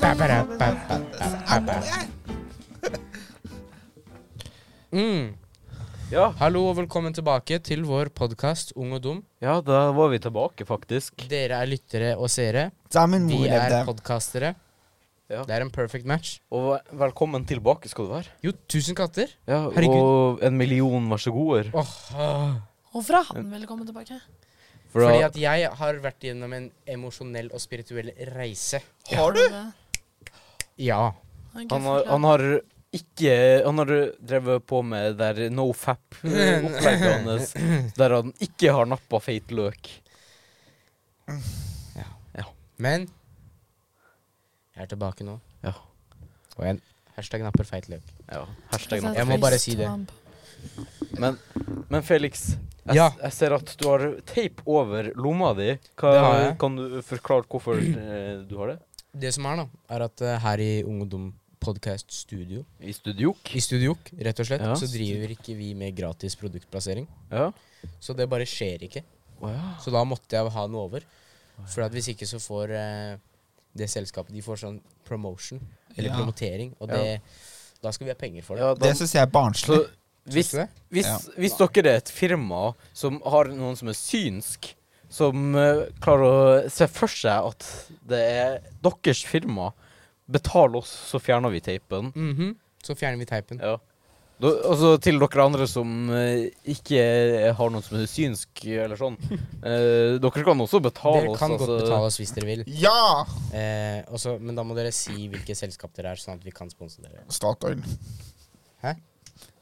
叭叭叭叭叭Mm. Ja, Hallo og velkommen tilbake til vår podkast Ung og dum. ja, da var vi tilbake, faktisk. Dere er lyttere og seere. Da min mor Vi er levde. podkastere. Ja. Det er en perfect match. Og ve- velkommen tilbake skal du være. Jo, tusen katter. Ja, Herregud. Og en million vær så goder. Åh, ah. Hvorfor er han velkommen tilbake? For Fordi da- at jeg har vært gjennom en emosjonell og spirituell reise. Har du det? Ja. han, har, han har ikke Han har drevet på med det der nofap-opplegget hans, der han ikke har nappa feit løk. Men jeg er tilbake nå. Ja. Og jeg hashtag napper feit løk. Ja, hashtag Jeg nappa. må bare si det. Sånn, Men, men Felix, jeg, Ja. jeg ser at du har teip over lomma di. Det har jeg. Hva, kan du forklare hvorfor eh, du har det? Det som er, da, er at eh, her i Ung og dum podcast studio, I studiok? i Studiok, rett og slett, Ja. så driver ikke vi med gratis produktplassering. Ja. Så det bare skjer ikke. Å ja. Så da måtte jeg ha noe over. For at hvis ikke så får eh, det selskapet De får sånn promotion, eller Ja. promotering, og Ja. det Da skal vi ha penger for det. ja Det da, syns jeg er barnslig. så hvis, Synes du det? hvis, Ja. hvis dere er et firma som har noen som er synsk, som eh, klarer å se for seg at det er deres firma, betal oss, så fjerner vi teipen. Mhm. Så fjerner vi teipen. Ja. Da, altså til dere andre som eh, ikke har noen som er synsk eller sånn. eh, dere kan også betale Dere oss. kan altså. godt betale oss hvis dere vil. Ja! Eh, også, men da må dere si hvilke selskap dere er, sånn at vi kan sponse dere. Statoil. Hæ?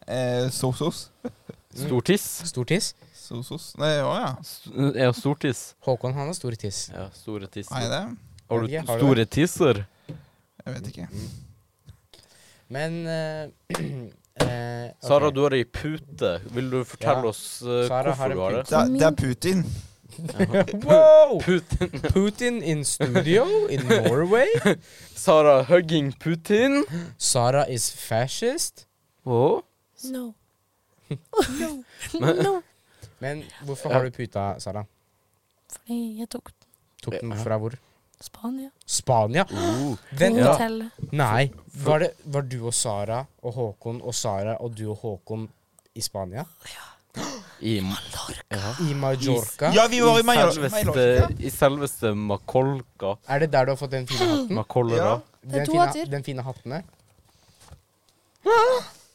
Eh, Sosos. Stortiss. Stor tiss. Sosos Nei, å ja. Mm. St- Ja, stortiss. Håkon, han har stor tiss. Ja, store tiss. Er jeg det? Har du Ja, har du store tisser? Jeg vet ikke. Men eh, eh, ok. Sara, du har ei pute. Vil du fortelle Ja. oss eh, Sara har hvorfor du har en det? Det er, det er Putin. Wow! Putin. Putin in studio in Norway. Sara hugging Putin. Sara is fascist. Å? No. no. Men- no. Men hvorfor har du puta, Sara? Fordi jeg tok Tok den fra hvor? Spania. Spania? Oh. Vent, Ja. da. Hotell. Nei. Var, det, var du og Sara og Håkon og Sara og du og Håkon i Spania? I, Ah, I Majorca? Ja, vi var i i, Mallorca. selveste, Mallorca. I selveste Makolka. Er det der du har fått den fine hatten? Makolera. Mm. Ja. Det er Den to fine, hatter. den fine hatten der?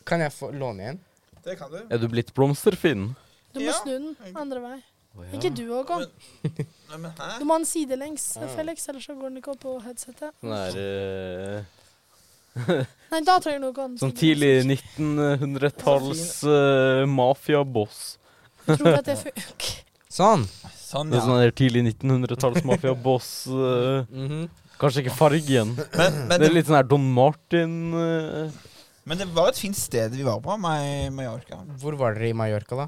Kan jeg få låne en? Det kan du. Er du blitt blomsterfinn? Du må Ja. snu den andre vei. Ikke du òg, Kong. Nei, men hæ? Du må ha den sidelengs, Felix, ellers så går den ikke opp på headsetet. Sånn her eh, Nei, da trenger du ikke ha den Sånn tidlig sidelengs. 1900-talls uh, mafiaboss. Jeg Tror at det funker. Sånn. Sånn, Det er ja. Sånn her tidlig 1900-talls mafiaboss. eh, Mhm. kanskje ikke fargen. Men, men, Det er det, litt sånn her Don Martin. eh, men det var et fint sted vi var på, Ma- Mallorca. Hvor var dere i Mallorca, da?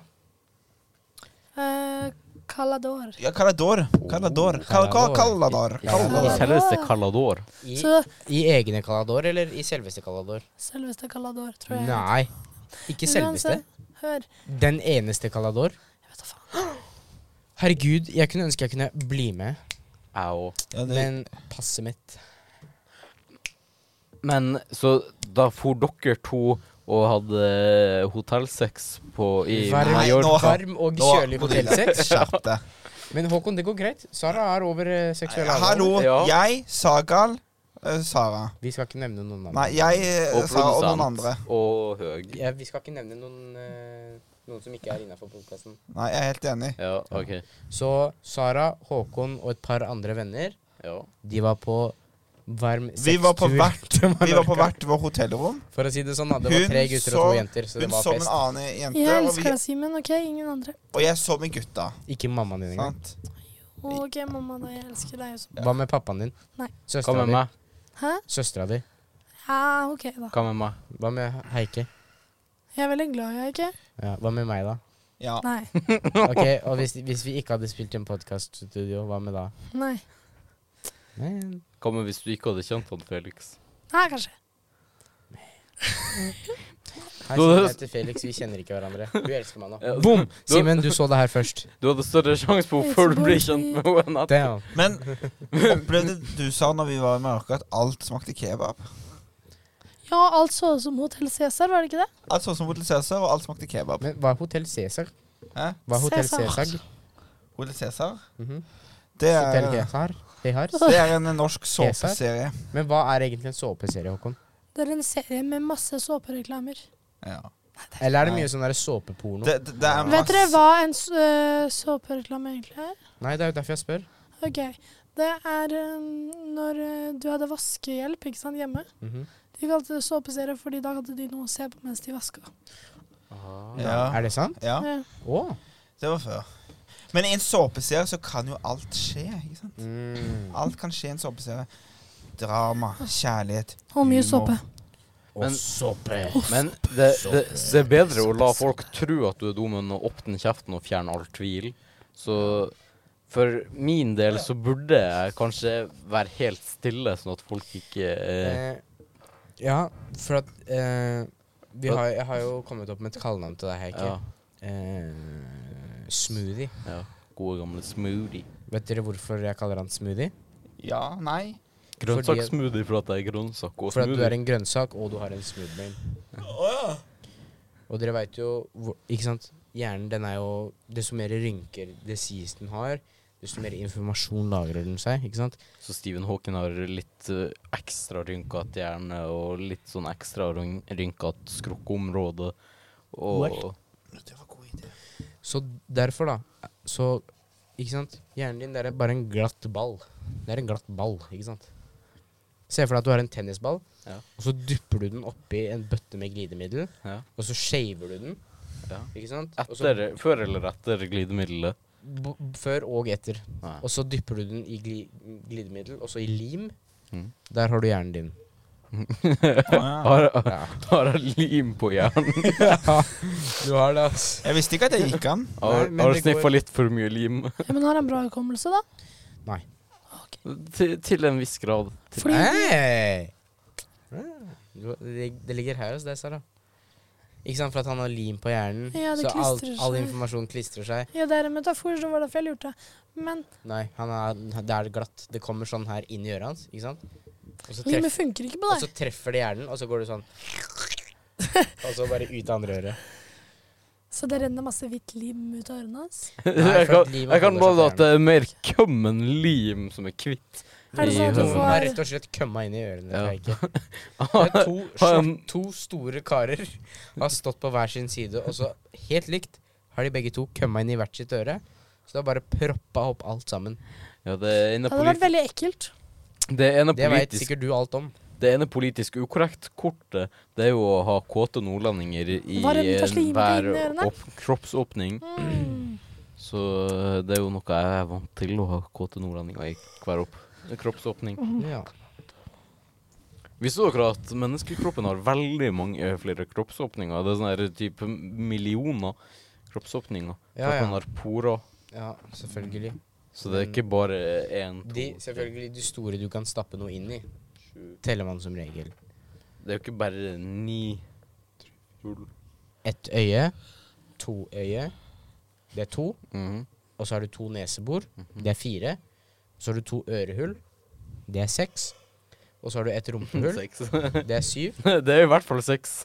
Eh, Calador. Ja, Calador. Calador. Cal- Cal- Calador. Ja. Calador. Selveste Calador. I, Så I egne Calador, eller i selveste Calador? selveste Calador, tror jeg. Nei. Ikke selveste. Uansett, Hør. Den eneste Calador. Jeg vet da faen. Herregud, jeg kunne ønske jeg kunne bli med, Au. Ja, det, men passet mitt Men så da for dere to og hadde eh, hotellsex på i Varm, Nei, nå- Mallorca. varm og Nå- kjølig hotellsex. Skjerp deg. Men Håkon, det går greit. Sara er over eh, seksuell Hallo. Ja. Jeg, Sagal, eh, Sara. Vi skal ikke nevne noen navn. Nei, jeg, eh, Og Sara og noen andre. produsent. Og høg. Ja, vi skal ikke nevne noen, eh, noen som ikke er innafor podkasten. Nei, jeg er helt enig. Ja, OK. Så Sara, Håkon og et par andre venner, Ja. de var på varm sextur. Vi var på hvert, til vi var på Mallorca. hvert vår hotellrom. For å si det sånn, da. Det var Hun tre gutter og så- to jenter, så det Hun var så med fest. en annen jente, Jeg og, elsker vi, deg, Simen. OK, ingen andre. og jeg så med gutta. Ikke mammaen din engang. Sant? OK, mamma, da. Jeg elsker deg også. Hva med pappaen din? Nei. Hva Søstera med di? meg? Hæ? Søstera di? Ja, OK, da. Hva med meg? Hva med Heike? Jeg er veldig glad i deg, ikke? Ja, hva med meg, da? Ja. Nei. Ok, Og hvis, hvis vi ikke hadde spilt i en podkaststudio, hva med da? Nei. Men, Hva med hvis du ikke hadde kjent han Felix? Nei, kanskje. Hei, Du- Simen jeg heter Felix, vi kjenner ikke hverandre. Du elsker meg nå. Ja, Boom! du- Simen, du så det her først. Du hadde større sjanse på henne før du ble kjent med henne. enn at- Damn. Men opplevde du, Sara, når vi var i Mallorca, at alt smakte kebab? Ja, alt så ut som Hotell Cæsar, var det ikke det? Alt sånn som Hotel Cæsar, og alt smakte kebab. Men hva er Hotell Cæsar? Hæ? Hva er Hotell Cæsar. Cæsar? Hotel Cæsar? Mhm. Det Hotell er, Cæsar? Det har. det er en norsk Cæsar? såpeserie. Men hva er egentlig en såpeserie, Håkon? Det er en serie med masse såpereklamer. Ja. Eller er det Nei. mye sånn der såpeporno? Det, det, det er Vet dere masse hva en s- øh, såpereklame egentlig er? Nei, det er jo derfor jeg spør. Ok, Det er øhm, når øh, du hadde vaskehjelp ikke sant, hjemme. Mhm. De kalte det såpeserie fordi da hadde de noe å se på mens de vaska. ja. Ah. Er det sant? ja, Ja. Å. det var før. Men i en såpeserie så kan jo alt skje. ikke sant? Mm. Alt kan skje i en såpeserie. Drama, kjærlighet Og mye Humor. såpe. Og Men- såpe. Men det, det, det er bedre å la folk tro at du er dum, enn å åpne kjeften og fjerne all tvil. Så for min del så burde jeg kanskje være helt stille, sånn at folk ikke eh, Eh, ja, for at eh, vi har, Jeg har jo kommet opp med et kallenavn til deg, Heikki. ja, Eh, smoothie. ja, Gode, gamle smoothie. Vet dere hvorfor jeg kaller han smoothie? Ja, nei. Grønnsakssmoothie for at det er grønnsak og For at du er smoothie. en grønnsak, og du har en smoothbrain. Og dere veit jo hvor- Ikke sant? Hjernen, den er jo Desto mer rynker det sies den har, desto mer informasjon lagrer den seg. Ikke sant? Så Stephen Hawking har litt eh, ekstra rynkete hjerne og litt sånn ekstra ryn- rynkete skrukkeområde. Og Det var god idé. Så derfor, da Så Ikke sant? Hjernen din, det er bare en glatt ball. Det er en glatt ball, ikke sant? Se for deg at du har en tennisball, Ja. og så dypper du den oppi en bøtte med glidemiddel, ja, og så shaver du den, ja. ikke sant? Og så Etter, før eller etter glidemiddelet? b før og etter. Nei. Og så dypper du den i gli glidemiddel, og så i lim. Mm. Der har du hjernen din. ja. Har, har han lim på hjernen? Du har det, ass. Jeg visste ikke at det gikk an. Har, men har det sniffa går- litt for mye lim? Ja, men har han bra hukommelse, da? Nei. til, til en viss grad. Til, Fordi Hei! Ah, Du- Det, det ligger her hos deg, Sara. Ikke sant, for at han har lim på hjernen, Ja, det så all, klistrer all seg. informasjon klistrer seg. Ja, det er en metafor, så det var derfor jeg lurte. Men Nei, han er, det er glatt. Det kommer sånn her inn i øret hans, ikke sant? Og så, limet treff, funker ikke på og deg. så treffer det hjernen, og så går det sånn. Og så bare ut av andre øret. Så det renner masse hvitt lim ut av ørene hans. Nei, jeg for at kan, limet jeg kan holder seg til love at det er mer køm enn lim som er kvitt. Er i det sånn at du høvelen. Hun får- har rett og slett kømma inn i ørene. Ja. Heike. Det er to, Har svart, han- to store karer har stått på hver sin side, og så helt likt har de begge to kømma inn i hvert sitt øre. Så det har bare proppa opp alt sammen. Ja, det ene Det hadde vært politi veldig ekkelt. det ene Det veit politisk, sikkert du alt om. det ene politisk ukorrekt-kortet, det er jo å ha kåte nordlendinger i Hva er det med å slime hver inn i ørene? opp, kroppsåpning. Så det er jo noe jeg er vant til, å ha kåte nordlendinger i hver opp, kroppsåpning. Ja. Visste dere at menneskekroppen har veldig mange flere kroppsåpninger? Det er sånn her type millioner kroppsåpninger. For Ja, at ja. man har porer. ja, selvfølgelig. Så det er ikke bare én, to De, selvfølgelig de store du kan stappe noe inn i, teller man som regel. Det er jo ikke bare ni hull. Ett øye, to øye, det er to. Mhm. Og så har du to nesebor, det er fire. Så har du to ørehull, det er seks. Og så har du et rumpehull, Seks. det er syv. det er i hvert fall seks.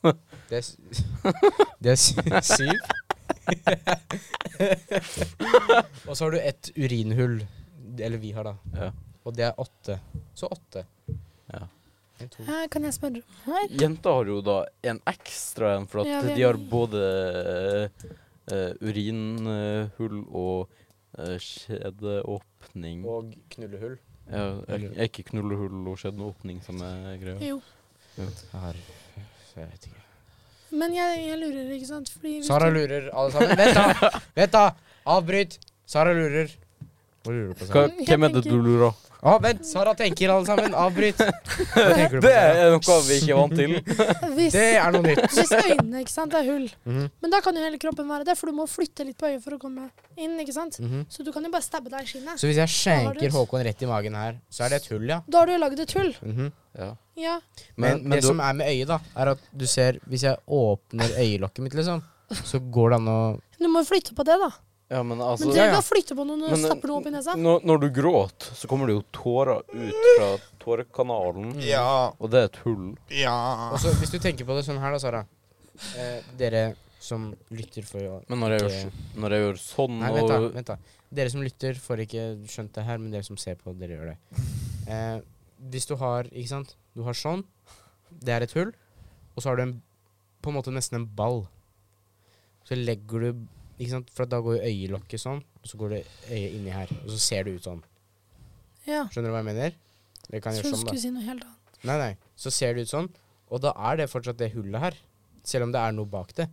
Det er, s- det er sy- syv. og så har du ett urinhull. Eller vi har, da. ja. Og det er åtte. Så åtte. Ja. En, to. Her kan jeg spørre om her? Jenter har jo da en ekstra en, for at Ja, vi er de har ni. både eh, urinhull og eh, skjedeåpning. Og knullehull. Ja, er, Eller- er ikke knullehull og skjedeåpning samme greia? Jo. Her. Jeg vet ikke. Men jeg, jeg lurer, ikke sant? Fordi hvis Sara du- lurer, alle sammen. Vent, da! Vent da! Avbryt! Sara lurer. Hva lurer du på, Sara? Hva, Jeg hvem er det du tenker- lurer? Å, Ah, vent! Sara tenker, alle sammen. Avbryt. Hva tenker du på, Det Sara? er noe vi ikke er vant til. hvis, Det er noe nytt. hvis øynene ikke sant, er hull, Mhm, men da kan jo hele kroppen være det, for du må flytte litt på øyet for å komme inn. ikke sant? mhm. Så du kan jo bare stabbe deg i skinnet. Så hvis jeg har du- skjenker Håkon rett i magen her, så er det et hull, ja? Da har du jo lagd et hull. Mhm. Ja. Ja. Men, Men, men det du, som er med øyet, da, er at du ser Hvis jeg åpner øyelokket mitt, liksom, så går det an å Du må jo flytte på det, da. ja, men altså Men ja, det ja. å flytte på noe når du Men, stapper noe opp i nesa når, når du gråter, så kommer det jo tårer ut fra tårekanalen. Ja. Og det er et hull. Ja. Og så Hvis du tenker på det sånn her, da, Sara. Eh, dere som lytter for å Men når jeg gjør, når jeg gjør sånn Nei, vent da, og vent da. Dere som lytter, får ikke skjønt det her, men dere som ser på, dere gjør det. Eh, hvis du har Ikke sant? Du har sånn. Det er et hull. Og så har du en, på en måte nesten en ball. Så legger du ikke sant? For da går jo øyelokket sånn, og så går det øyet inni her. Og så ser det ut sånn. Ja. Skjønner du hva jeg mener? Det kan Så gjøre du sånn, da. skulle si noe helt annet. Nei, nei. Så ser det ut sånn, og da er det fortsatt det hullet her. Selv om det er noe bak det.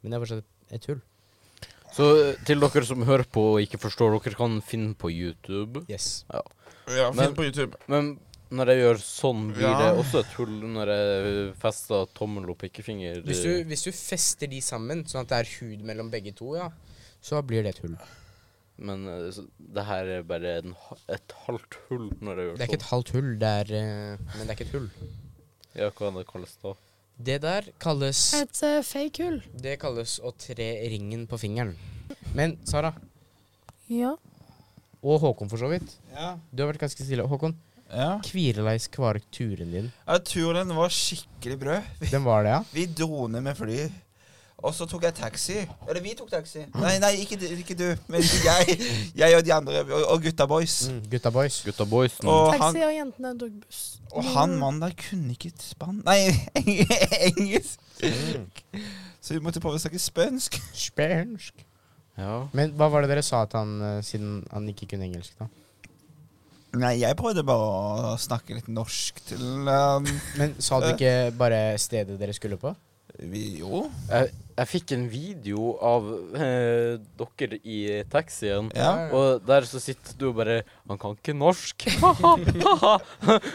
Men det er fortsatt et hull. Så eh, til dere som hører på og ikke forstår, dere kan finne på YouTube. Yes. ja Men- Finn på YouTube. Men når jeg gjør sånn, blir Ja. det også et hull når jeg fester tommel og pekefinger. Hvis du, hvis du fester de sammen, sånn at det er hud mellom begge to, ja, så blir det et hull. Men eh, så det her er bare en, ha- et halvt hull når jeg gjør Det er ikke sånn. et halvt hull, det er eh, Men det er ikke et hull. Ja, hva det kalles da? Det der kalles Et eh, fake hull. Det kalles å tre ringen på fingeren. Men Sara, Ja. og Håkon for så vidt, Ja. du har vært ganske stille. Håkon, ja. hvireleis kvar turen din. ja turen var skikkelig brød. Vi, Den var det, ja? vi dro ned med fly. Og så tok jeg taxi. Eller vi tok taxi. Nei, nei, ikke, du- ikke du. Men jeg, jeg og de andre. Og, og gutta boys. Mm, gutta boys. Gutta boys nå. Og han, Taxi og jentene tok buss. og han mannen der kunne ikke spann... Nei, engelsk. Så vi måtte prøve å snakke spønsk. Spansk. Ja. Men hva var det dere sa til han eh, siden han ikke kunne engelsk, da? Nei, jeg prøvde bare å snakke litt norsk til um, Men sa du Eh. ikke bare stedet dere skulle på? vi, Jo. Jeg, jeg fikk en video av eh, dere i taxien. Ja. Og der så sitter du og bare Han kan ikke norsk.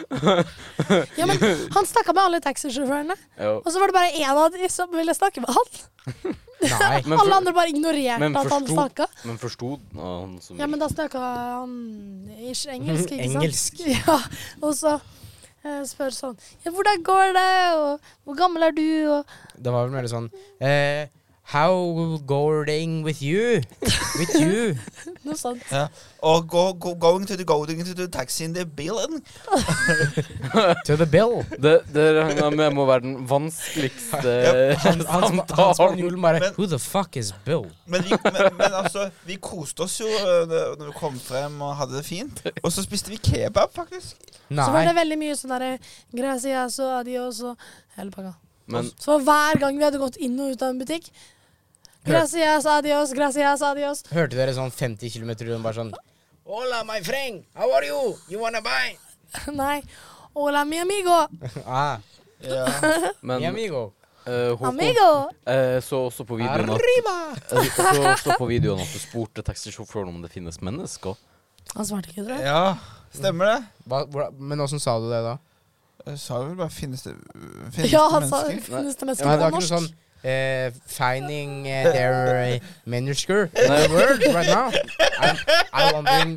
Ja, men han snakka med alle taxisjåførene, ja. og så var det bare én av de som ville snakke med han. Nei. Men for- alle andre bare ignorerte men at han forsto- snakka. Men forsto den, han som Ja, men da snakka han ish engelsk, ikke sant? Engelsk. Ja, og så eh, spør sånn ja, 'Hvordan går det?' og 'Hvor gammel er du?' og Det var vel mer sånn eh, How going with you? With you? noe sånt. Ja. Og go, go, going to the going to the taxi in the bilen. To the bill? Det, det regner jeg med må være den vanskeligste Han, han, han samtalen. spanjolen bare Men- Who the fuck is Bill? Men, vi, men, men altså, vi koste oss jo eh, når vi kom frem og hadde det fint. Og så spiste vi kebab, faktisk. Så var det Nei. veldig mye sånn derre 'Gracias' og 'adios' og hele pakka. Men Så hver gang vi hadde gått inn og ut av en butikk 'Gracias, adios, gracias, adios'. Hørte dere sånn 50 km rundt bare sånn Hola, my friend. How are you? You wanna buy? Nei. Hola, mi amigo. Ah, Ja. Men mi amigo. eh, Håkon, Amigo. eh, så også på videoen at, Arriba! eh, så også på videoen at du spurte taxisjåføren om det finnes mennesker. Han svarte ikke, tror jeg. ja. Stemmer det? Hva, hvordan- men åssen sa du det da? Jeg sa vel bare finnes det, finnes Ja, det han sa mennesker? finnes det Ja, men mennesker det på var ikke noe sånn norsk? eh, Finding eh, their mennesker in Nei. the world right now. I'm, I'm wondering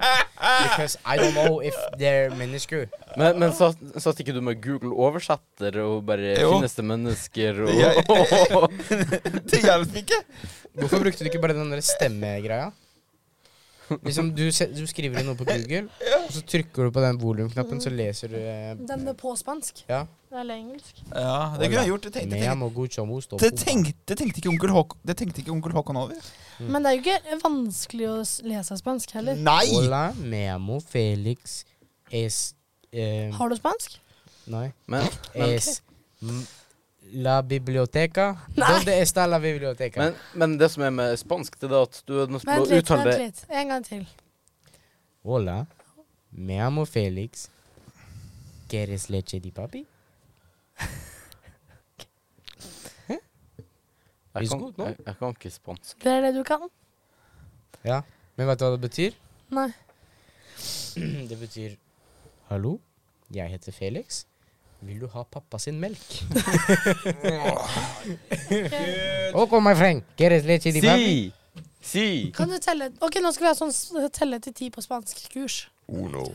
because I don't know if they're mennesker. Men, men satt, satt ikke du med Google oversetter og bare Jo. Finnes det mennesker og Ja, Det hjalp ikke. Hvorfor brukte du ikke bare den der stemmegreia? Liksom, du, se- du skriver inn noe på Google, og så trykker du på den volumknappen, så leser du eh, Den er på spansk. Ja. Eller engelsk. Ja, det kunne jeg gjort. Det tenkte, Mea tenkte, mogu chomu stopu. det tenkte, det tenkte, ikke, onkel Håkon, det tenkte ikke onkel Håkon over. Mm. Men det er jo ikke vanskelig å s- lese spansk heller. Nei! Hola, memo, Felix, es Mm. eh, Har du spansk? Nei. men, men, Es m- La biblioteca. Nei. Donde está la biblioteca? men, men det som er med spansk, det er at du er nødt til Vent å litt, uttale vent det litt. En gang til. Hola, me amo Felix. ¿Quieres leche de papi? jeg Is kan, good, no? jeg, jeg kan ikke spansk. Det er det du kan? Ja. Men vet du hva det betyr? Nei. Det betyr Hallo, jeg heter Felix. Vil du ha pappa sin melk? Ok, my friend. ¿Quieres leche de papi? Si! Si! Kan du telle? Ok, nå skal vi ha sånn s- telle til ti på spansk kurs. Uno.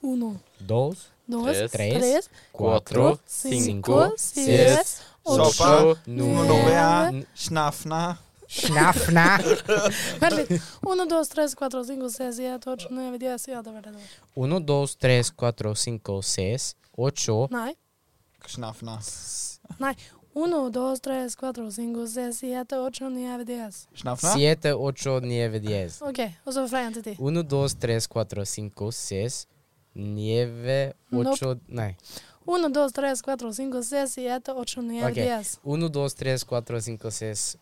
Uno, Dos, dos, Tres. tres, Cuatro, cinco, cinco, seis, seis, ocho Sopa. Nordea. N- Snafna. Snafna. Vent litt. Uno, dos, tres, cuatro, cinco, seis, siete, ocho, nueve, diez. Ja, det var det. det var. Uno, dos, tres, cuatro, cinco, seis, ocho. Nei. Snafna. Nei. Uno, dos, tres, cuatro, cinco, seis, siete, ocho, nueve, diez. Snafna. Siete, ocho, nueve, diez. OK, og så fra én til ti. Uno, dos, tres, cuatro, cinco, seis, nieve, ocho, nei. Uno, dos, tres, cuatro, cinco, seis, siete, ocho, nueve, Ok. diez. Uno, dos, tres, cuatro, cinco, seis,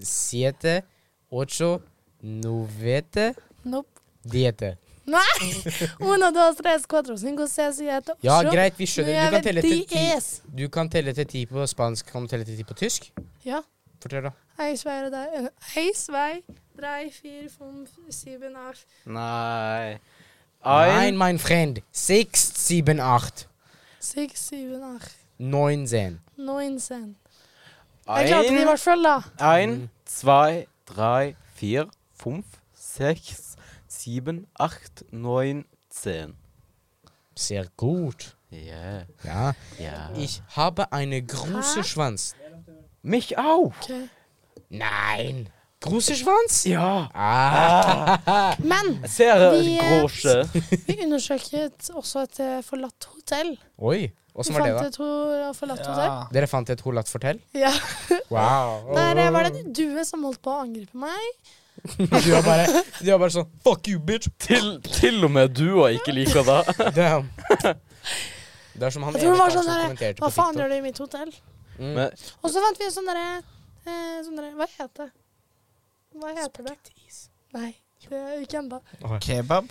siete, ocho, novete, Nope. diete. Nei! Uno, dos, tres, cuatro, cinco, seis, siete, ocho, Ja, greit, vi skjønner. Du kan telle til ti. diez. Du kan telle til ti på spansk, kan du telle til ti på tysk? Ja. Fortell da. Eins, zwei, drei, eins, zwei, drei, vier, fünf, sieben, acht. Nei Nein, Ein mein Freund. Six, sieben, acht. Seks, syv, acht, Neun, zehn. nineteen. Jeg klarte det i Ein, hvert fall, da. ein zwei, drei, vier, fünf, sechs, sieben, acht, neun, zehn. Sehr gut. Ja, Ja. ja. Ich habe eine große Hä? Schwanz. Mich auch. Ok. Nein. Große Schwanz? Ja. Ah. Men Sehr Vi, eh, große. vi undersøket også et eh, forlatt hotell. Oi. Vi Åssen var det, fant da? et ho- forlatt hotell. Dere fant et holatt fortell? Ja. Wow. Der eh, var det en due som holdt på å angripe meg. Du var bare, du var bare sånn Fuck you, bitch. Til, til og med dua ikke liker det. Damn. Det er som han Jeg tror det ene var karen sånn som derre kommenterte Hva på faen TikTok. gjør du i mitt hotell? Mm. Men Og så fant vi en sånn derre eh, sånn derre- Hva heter det? Hva heter det? Nei, det er ikke ennå. Kebab.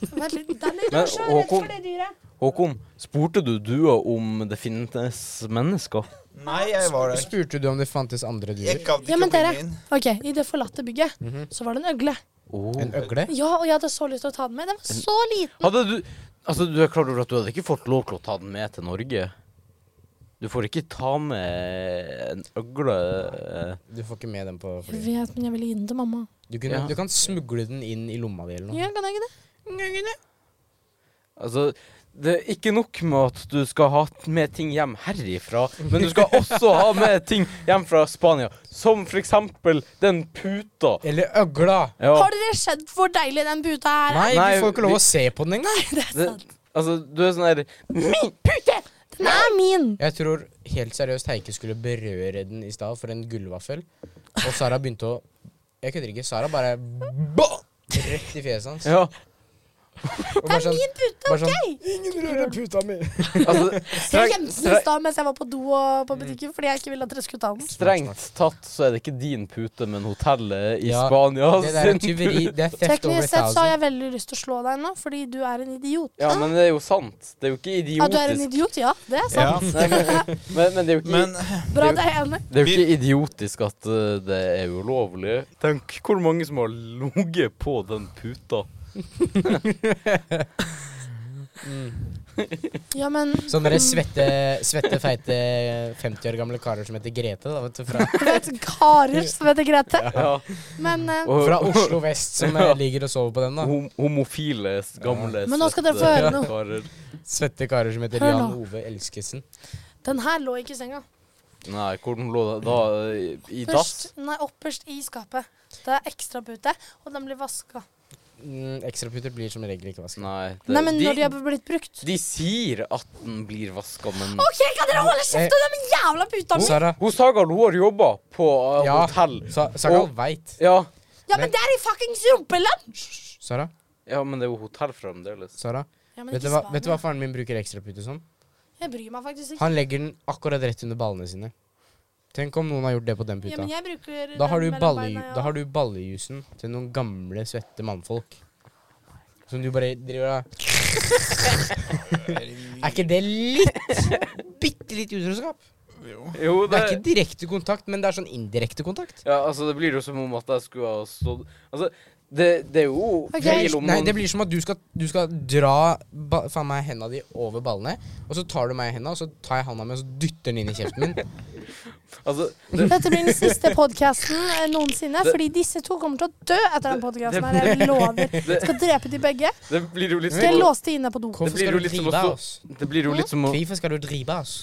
Vent litt. Den er Men, kanskje redd Håkon. for det dyret. Håkon, spurte du dua om det finnes mennesker? Nei, jeg var der. ikke. Spurte du om det fantes andre Jeg dyr? gadd ikke Ja, å men bli dere, med inn. ok, I det forlatte bygget Mhm. så var det en øgle. Oh. En øgle? Ja, og jeg hadde så lyst til å ta den med. Den var så liten. Hadde du Altså, du er klar over at du hadde ikke fått lov til å ta den med til Norge? Du får ikke ta med en øgle eh, Du får ikke med den på Jeg flyet. vet, men jeg ville gi den til mamma. Du, kunne, Ja. du kan smugle den inn i lomma di eller noe. Ja, kan jeg ikke det? Altså, det er ikke nok med at du skal ha med ting hjem herifra, men du skal også ha med ting hjem fra Spania. Som for eksempel den puta. Eller øgla! Ja, Har dere sett hvor deilig den puta her er? Nei, Nei, vi får ikke lov vi- å se på den engang. Det er det, sant. altså, du er sånn her Min pute! Den er min. Jeg tror helt seriøst Heike skulle berøre den i stad for en gullvaffel. Og Sara begynte å Jeg kødder ikke. Sara bare ba! Rett i fjeset hans. Ja, Og bare sånn, Pute, bare sånn Ingen rører puta mi! altså, Jeg strengt, gjemte den i strengt, stad mens jeg var på do og Mm. på butikken fordi jeg ikke ville at dere skulle ta den. strengt tatt så er det ikke din pute, men hotellet i Ja, Spania Det der er sin tyveri. pute. Det er theft over Teknisk sett så har thousand. jeg veldig lyst til å slå deg nå, fordi du er en idiot. Ja, men det er jo sant. Det er jo ikke Ja, du er en idiotisk. idiot, ja. Det er sant. Ja. Nei, men, men, men det er jo ikke, Men Bra, det er jeg enig. det er jo ikke idiotisk at eh, det er ulovlig. Tenk hvor mange som har ligget på den puta. Ja, men Sånne Sånn der svette, svette, feite 50 år gamle karer som heter Grete, da, vet du. Fra, du vet, karer som heter Grete. Ja. Men, eh, Og, fra Oslo vest, som eh, Ja. Oh. ligger og sover på den, da. hom homofile, s- gamle Men nå skal dere få høre noe. karer. Svette karer som heter Hør Jan nå. Ove Elskesen. den her lå ikke i senga. Nei, hvordan lå det da? eh, I dass? Først, nei, opperst i skapet. Det er ekstra pute, og den blir vaska. Mm, Ekstraputer blir som regel ikke vasket. Nei. det- Nei, men de, når de har blitt brukt. de sier at den blir vaska, men OK, kan dere holde kjeft om den jævla puta mi?! Sara, Hun Sagal hun har jobba på eh, Ja. hotell. Sa Sagal Og- veit. Ja. Ja, men det er i fuckings rumpeland! Sara, ja, men det er jo hotell fremdeles. Sara. Ja, men Vet du, ikke hva, svar vet du hva meg. faren min bruker ekstraputer som? Jeg bryr meg faktisk ikke. Han legger den akkurat rett under ballene sine. Tenk om noen har gjort det på den Ja, puta. men jeg bruker Da har, den du mellom balle, beina, ja. da har du ballejusen til noen gamle, svette mannfolk. Som du bare driver av. Er ikke det litt Bitte litt utroskap? jo. Jo, Det er ikke direkte kontakt, men det er sånn indirekte kontakt. Ja, altså det blir jo som om at jeg skulle ha stått Altså, det, det er jo Ok. feil om Nei, noen Det blir som at du skal, du skal dra ba, faen meg henda di over ballene, og så tar du meg i henda, og så tar jeg handa mi og så dytter den inn i kjeften min. Altså, det, Dette blir den siste podkasten noensinne, fordi disse to kommer til å dø etter den podkasten her. Jeg lover. Jeg det, skal drepe de begge. det blir jo litt Skal jeg som å, låse de inne på do. Hvorfor blir skal jo du litt som å drive stå- oss? det blir jo litt som å Hvorfor skal du drive oss?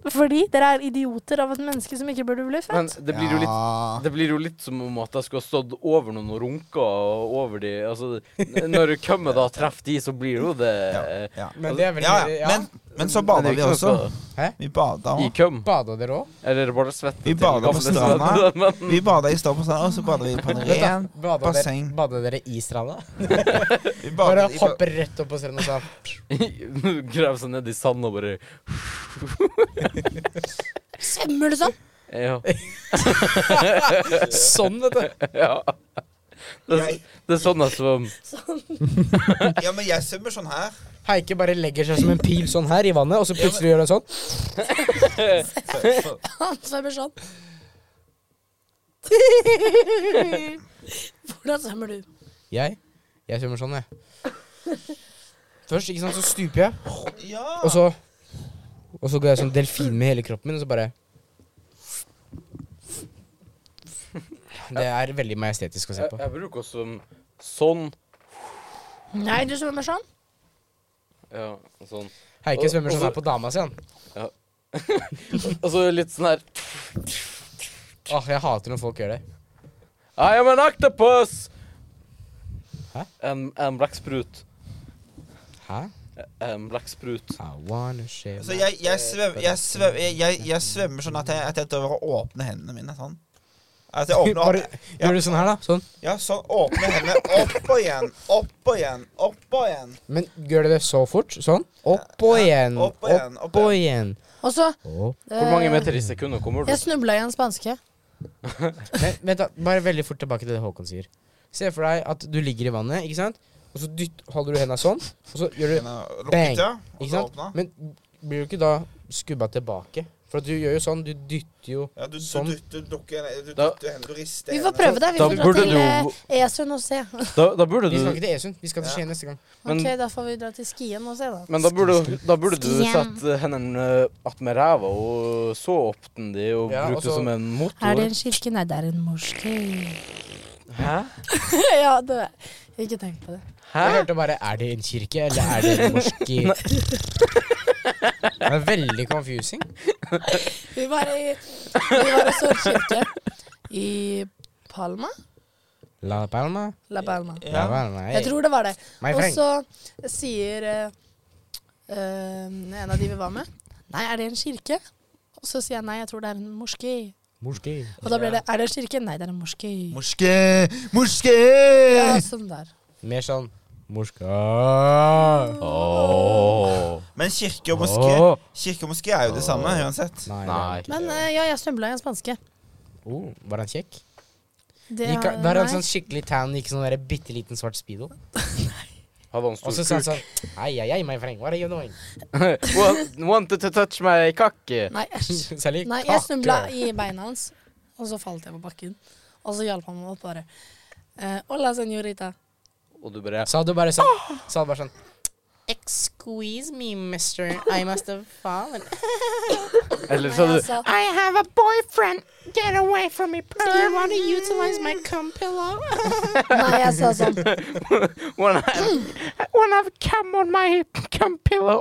Fordi dere er idioter av et menneske som ikke burde bli Men født. det blir jo litt Ja. Det blir jo litt som om at jeg skulle ha stått over noen og runka og over de Altså, n- når kømmet da treffer de, så blir jo det eh, Ja. Men det er vel Ja, ja. Men, men så bada det er vi ikke noe også. skal- Vi bada I òg. køm? Bada dere òg? Eller er det bare svette? Vi til bader på gamle stranda. svette, Men Vi bada i stad på stranda, og så bada vi i Paneren. Bada dere, basseng. bada dere i stranda? Vi Bare bada i hoppe rett opp på stranda og sa grav seg ned i sand og bare Svømmer du sånn? Ja. Sånn, vet du. ja. Det, er- Jeg- det er sånn jeg svømmer. Ja, men jeg svømmer sånn her. Heike bare legger seg som en pil sånn her i vannet, og så plutselig gjør han sånn. Han svømmer sånn. Hvordan svømmer du? Jeg Jeg svømmer sånn, jeg. Først, ikke sant, så stuper jeg, Ja. og så Og så går jeg sånn delfin med hele kroppen min, og så bare Det er veldig majestetisk å se Jeg, på. jeg bruker å svømme sånn. Nei, du svømmer sånn. Ja, sånn. Heike svømmer sånn her på dama si, han. Og så litt sånn her Åh, jeg hater når folk gjør det. I am an octopus! Hæ? En, en blekksprut. Hæ? En blekksprut. I wanna shave Så Altså, jeg, jeg, svømmer, jeg, svømmer, jeg, jeg, jeg svømmer sånn at jeg, at jeg tør å åpne hendene mine sånn. At jeg åpner Bare, opp. gjør du sånn her, da? Sånn. Ja, sånn. Åpne hendene opp og igjen. Opp og igjen. Opp og igjen. Men gjør du det så fort? Sånn. Opp og igjen. Opp og igjen, opp Opp og igjen. Og så eh, Opp. Hvor mange meter i sekundet kommer du? Jeg snubla i en spanske. Men, vent da, Bare veldig fort tilbake til det Håkon sier. Se for deg at du ligger i vannet, ikke sant? Og så dytt, holder du henda sånn, og så gjør du Bang. Lukket, ja. Og Ikke så sant? åpna. Men blir du ikke da skubba tilbake? For at du gjør jo sånn. Du dytter jo Ja, du, du, Sånn. du, du dukker ned, du Da- dytter hendene, du rister Vi får prøve det. Vi Da får dra burde til du- eh, Esund og se. Da, da burde Vi skal du ikke til Esund. Vi skal til Ja. Skien neste gang. Men- Ok, da får vi dra til Skien og se, da. Men da burde, da burde du Skien. sette hendene attmed ræva og så opp den de og Ja, og bruke det så- som en Er motor. det en kirke? Nei, det er en moské. Hæ? ja, det er Ikke tenk på det. Hæ? Jeg hørte bare Er det en kirke, eller er det en moské? det er veldig confusing. Vi var i, vi var i Sør-Kirke. I Palma? La palma. La Palma. La Ja. palma. Jeg tror det var det. My Og friend. så sier eh, eh, en av de vi var med, nei, er det en kirke? Og så sier jeg nei, jeg tror det er en moské. Moské. Og da blir det er det en kirke? Nei, det er en moské. Morske, morske! Ja, sånn der. Mer sånn Morska Åh. Men kirke og moské Åh. Kirke og moské er jo det samme uansett. Nei. Nei. Men eh, ja, jeg snubla i en spanske. Oh, var han kjekk? Det Gikk, har- han- var han nei. sånn skikkelig tan, gikk sånn der bitte liten svart speedo? Hadde han Og stor så kuk? sa han sånn Ai, ai, ai, my friend, what are you doing? Want- Wanted to touch my kakke. Nei, æsj. Særlig Nei, jeg snubla i beina hans, og så falt jeg på bakken. Og så hjalp han meg opp bare. Eh, Hola, señorita. Og du bare Sa du bare sånn Sa du bare sånn Excuse me, mister. I must have fallen. Eller sa du sa I have a boyfriend. Get away from me, Do you want to utilize my cum pillow? Nei, jeg sa sånn. One hand. I want to have cum on my cum pillow.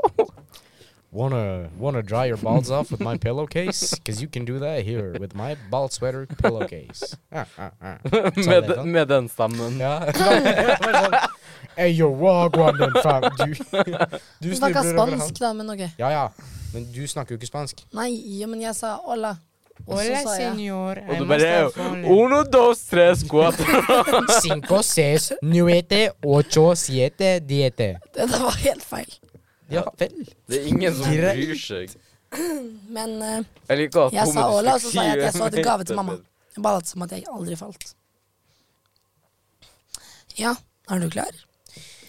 Wanna, wanna dry your balls off with my pillowcase? Cause you can do that here with my ball sweater pillowcase. Ah, ah, ah. med, de- med den stemmen. Ja. Bare sånn, «Ey, yo, wagwan, den fam. Du, du Du snubler snakka over han. spansk, da, men ok. Ja, ja. Men du snakker jo ikke spansk. Nei, jo, men jeg sa hola. Og så sa jeg Og du bare Uno, dos, tres, cuatro. Cinco, seis, nuete, ocho, siete, diete. Det der var helt feil. Ja vel. Det er ingen som Greit. bryr seg. Men eh, Jeg liker at jeg sa Thomas hola, og fikk så sa jeg at jeg si- så hadde gave til mamma. Jeg bare lot som at jeg aldri falt. Ja, er du klar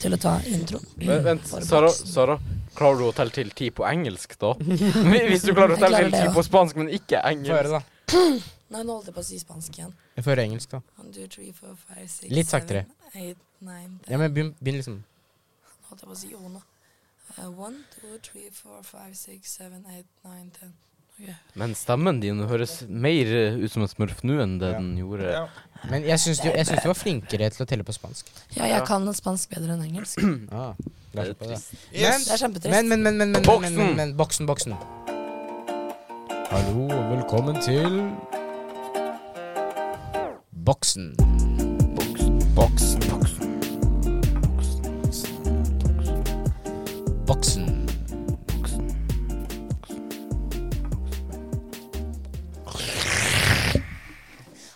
til å ta introen? Vent, vent Sara, Sara, klarer du å telle til ti på engelsk, da? Hvis du klarer å Jeg telle klarer til det, ti ja. på spansk, men ikke Få høre, engelsk. da. Nei, nå holdt jeg på å si spansk igjen. Jeg får høre engelsk, da. One, two, three, four, five, six, Litt saktere. seven, eight, nine, ten. Ja, men begynn, begynn liksom. holdt Eh, jeg på å si Jona. Uh, one, two, three, four, five, six, seven, eight, nine, ten. Ok, Men stemmen din høres mer eh, ut som en smurf nå enn det Ja. den gjorde. Ja. Men jeg syns du, jeg syns du var flinkere til å telle på spansk. Ja, jeg kan spansk bedre enn engelsk. Ah, Det er kanskje på det. trist. Yes. Det er kjempetrist. Men, men, men, men, men, Boksen! men, men, men Boksen, boksen. Hallo, og velkommen til Boksen. Boksen. Boksen. Boksen.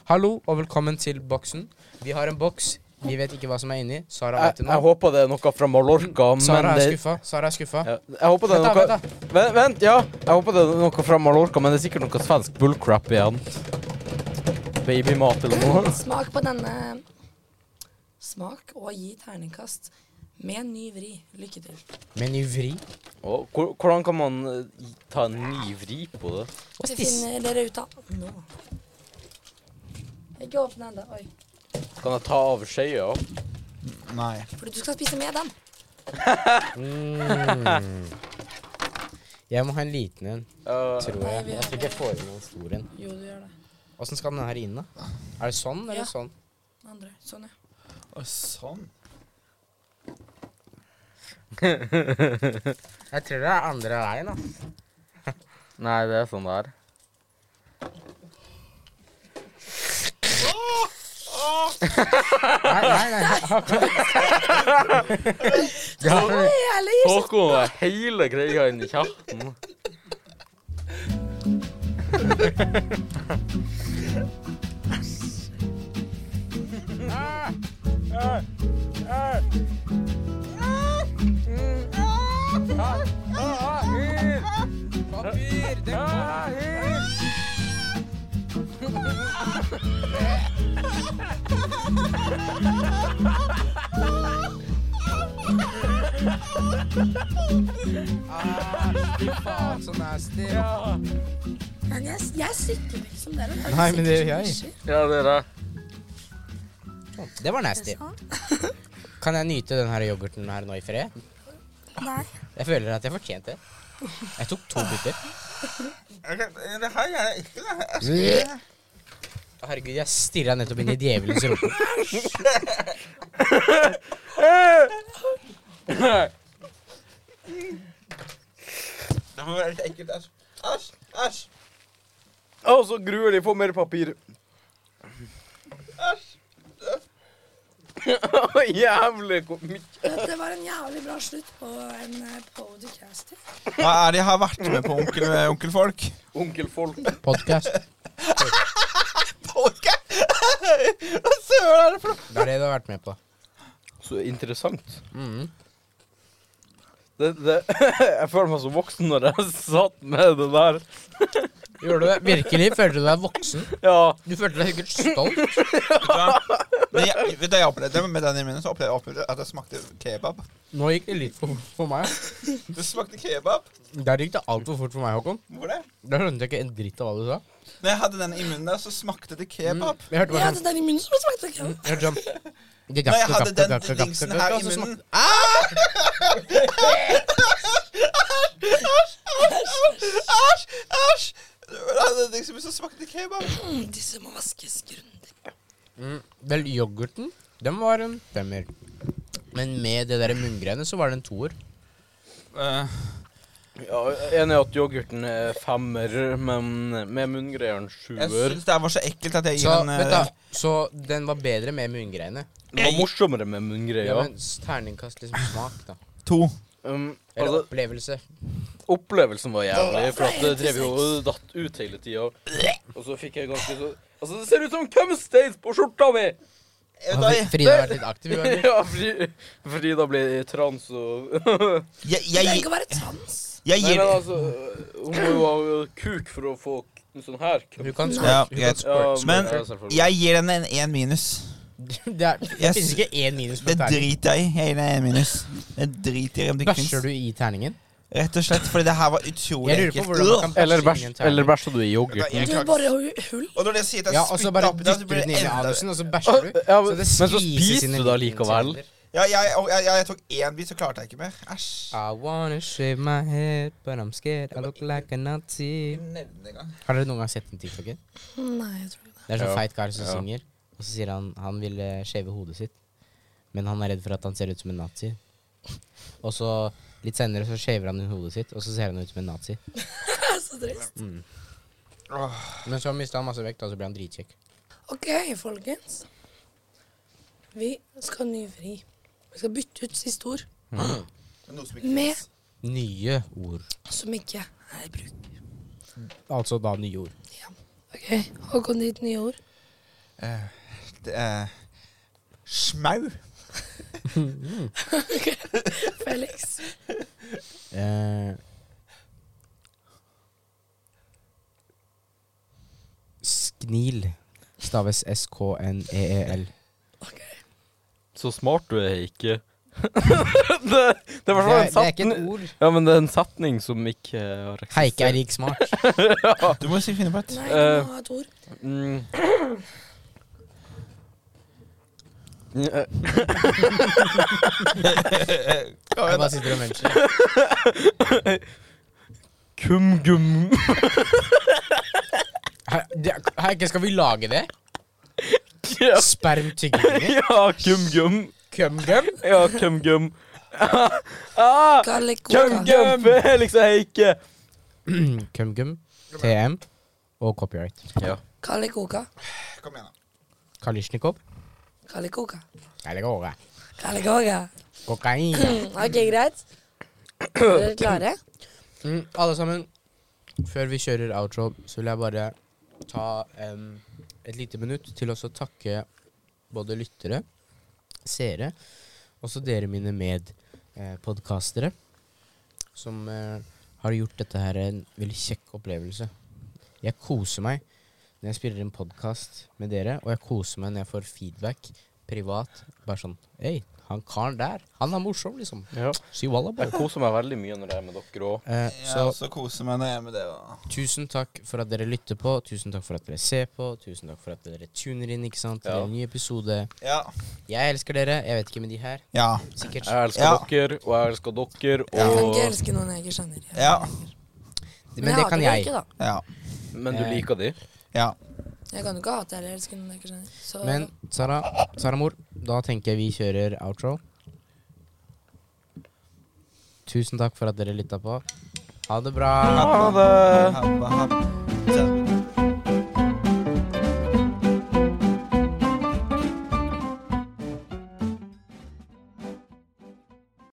Hallo, og velkommen til Boksen. Vi har en boks. Vi vet ikke hva som er inni. Sara Jeg, vet det nå. jeg håper det er noe fra Mallorca, men Sara det er skuffa. Sara er skuffa. ja, Jeg håper det er Vent da, noe vent da. Vent, vent, ja. Jeg håper det er noe fra Mallorca, men det er sikkert noe svensk bullcrap igjen. Babymat eller noe. Smak på denne. Smak og gi terningkast med en ny vri. Lykke til. Men i vri. Og hvor- Hvordan kan man eh, ta en ny vri på det? Det finner dere ut av nå. Ikke åpne ennå. Oi. Kan jeg ta av skjea? Nei. Fordi du skal spise med den. Jeg må ha en liten en, Eh, tror jeg. Jeg tror ikke jeg får i meg en stor en. Jo, du gjør det. Åssen skal den her inn, da? Er det sånn eller Ja. sånn? Den Andre. Sånn, ja. Å, sånn. Jeg tror det er andre veien, da. nei, det er sånn der. Nei, nei, nei. Ja, Jævlig. Håkon har hele greia inni kjeften. så nasty. Men jeg, jeg sikler ikke som dere. Jeg Nei, men det gjør sikler jeg. som Ja, det er det. Det var nasty. nisjer. Kan jeg nyte den her yoghurten her nå i fred? Nei. Jeg føler at jeg fortjente det. Jeg tok to biter. Det her gjør jeg ikke. det her. Herregud, jeg stirra nettopp inn i djevelens rumpe. Det må være litt ekkelt. Æsj. Æsj. Æsj. Og så gruer de på mer papir. Æsj. Jævlig hvor mye Dette var en jævlig bra slutt på en eh, podcast. Hva er det jeg har vært med på, onkel, onkelfolk? onkelfolk Podkast. Folke? Hva søren er det for noe? Det er det du har vært med på. Så interessant. Mhm. Det, det, jeg føler meg så voksen når jeg satt med det der. Gjorde du det? Virkelig? Følte du deg voksen? Ja. Du følte deg sikkert stolt. Men jeg, vet du, jeg opplevde det med den i munnen, så opplevde jeg opplevde at det smakte kebab. Nå gikk det litt for fort for meg. Det smakte kebab. Der gikk det altfor fort for meg, Håkon. Hvorfor det? Da skjønte jeg ikke en dritt av hva du sa. Når jeg hadde den i munnen der, så smakte det kebab. Jeg hørte Jeg bare hadde sånn den i munnen som smakte kebab. jeg hørte sånn det gakk, Når jeg det hadde gakk, det den gakk, det gakk, dingsen det her gakk, i og så munnen smakte- Æsj! Æsj! Jeg hadde den dingsen min, så smakte det kebab. Mm, Disse må vaskes grundig. Mm, Vel, yoghurten, den var en femmer. Men med det der munngreiene så var det en toer. ja enig i at yoghurten er femmer, men med munngreier en jeg sjuer. syns det her var så ekkelt at jeg gir Så, den eh, vent da, så den var bedre med munngreiene. Det var morsommere med Ja, munngreier. men s- terningkast liksom smak, da. to. Um, Eller altså, opplevelse. opplevelsen var jævlig, for at det drev jo og datt ut hele tida. Og så fikk jeg ganske så Altså, det ser ut som cumstains på skjorta mi! Jeg, vet da, Frida har vært litt aktiv i dag. Ja, Fri- Frida blir trans og jeg, jeg, Trenger jeg, ikke å være trans. jeg Nei, gir men altså, hun må jo ha kuk for å få k- en sånn her Hun køpp. kan Ja, squirt. hun kan greit. squirt. Men ja, selvfølgelig. jeg gir den en én minus. Det, er, det Jeg finnes s- ikke én minus på Det terningen. driter jeg i. Jeg gir den en minus. Det driter jeg i om det ikke Bæsjer fins. du i terningen? Rett og slett fordi det her var utrolig Jeg lurer på hvordan man kan Øh! bæsje i en terning. bæsja du i Jeg Du kan- bare hu- hull. Og når det sier Ja, at jeg og så spytter bare oppi der, så dytter du blir den inn det i enda anusen, og så bæsjer du. Ja, men- men så det spiser inn i du da liten likevel. celler. Ja, jeg, og jeg, jeg, jeg tok én bit, så klarte jeg ikke mer. Æsj. I wanna shave my head, but I'm scared I look like a Nazi. Ikke nevne engang. Har dere noen gang sett en TikToker? Nei, jeg tror ikke det. Det er en sånn Ja. feit kar som Ja. synger, og så sier han han vil eh, shave hodet sitt, men han er redd for at han ser ut som en nazi. Og så litt senere så shaver han inn hodet sitt, og så ser han ut som en nazi. Det er så trist. Åh. Men så mista han masse vekt, og så ble han dritkjekk. OK, folkens. Vi skal ha ny vri. Vi skal bytte ut siste ord Det er Noe som ikke med finnes. Nye ord. som ikke er i bruk. Altså da nye ord. OK, Håkon, ditt nye ord. Eh, det er Smau. Felix. Eh, Sknil staves S-K-N-E-E-L. OK. Så smart du er ikke. det, det er i hvert Det fall er, det en er ikke setning et ord. Ja, men det er en setning som ikke eh, har Heike er rik smart. Du må si finne på et. Nei, du Eh. må ha et ord. Mm. Eh, Jeg bare sitter og muncher. Kumgum. He- det- Heike, skal vi lage det? ja, Spermtyggegummi? ja, kumgum. Kumgum? Ja, kumgum. ah, Kalikoka. kumgum, Felix og Heike. Kumgum, TM og copyright. Ja. Kalikoka. Kom igjen, da. Kalisjnikov? Kalikoka. Nei, det går bra. Kalikoka. Kokain. OK, greit. Er dere klare? Mm, alle sammen, før vi kjører outro, så vil jeg bare ta em, et lite minutt til også å takke både lyttere, seere, også dere mine medpodkastere, som eh, har gjort dette her en veldig kjekk opplevelse. Jeg koser meg når jeg spiller en podkast med dere, og jeg koser meg når jeg får feedback privat. Bare sånn Hei, han karen der, han er morsom, liksom. ja. Shiwalla, Jeg bare. koser meg veldig mye når jeg er med dere òg. Eh, Jeg også koser meg når jeg er med det. Og... Tusen takk for at dere lytter på, tusen takk for at dere ser på, tusen takk for at dere tuner inn. ikke sant? Det Ja. er en ny episode. Ja. Jeg elsker dere. Jeg vet ikke med de her. Ja. Sikkert. Jeg elsker Ja. dere, og jeg elsker dere, Jeg kan ikke og elske noen jeg ikke skjønner. Ja. Men det kan hater jeg. Ikke, da. Ja. Men du Eh. liker de? Ja. Jeg kan jo ikke hate eller elske noen jeg ikke skjønner. Så Men Sara, Sara Mor, da tenker jeg vi kjører outro. Tusen takk for at dere lytta på. Ha det bra. Ha det. Ha det.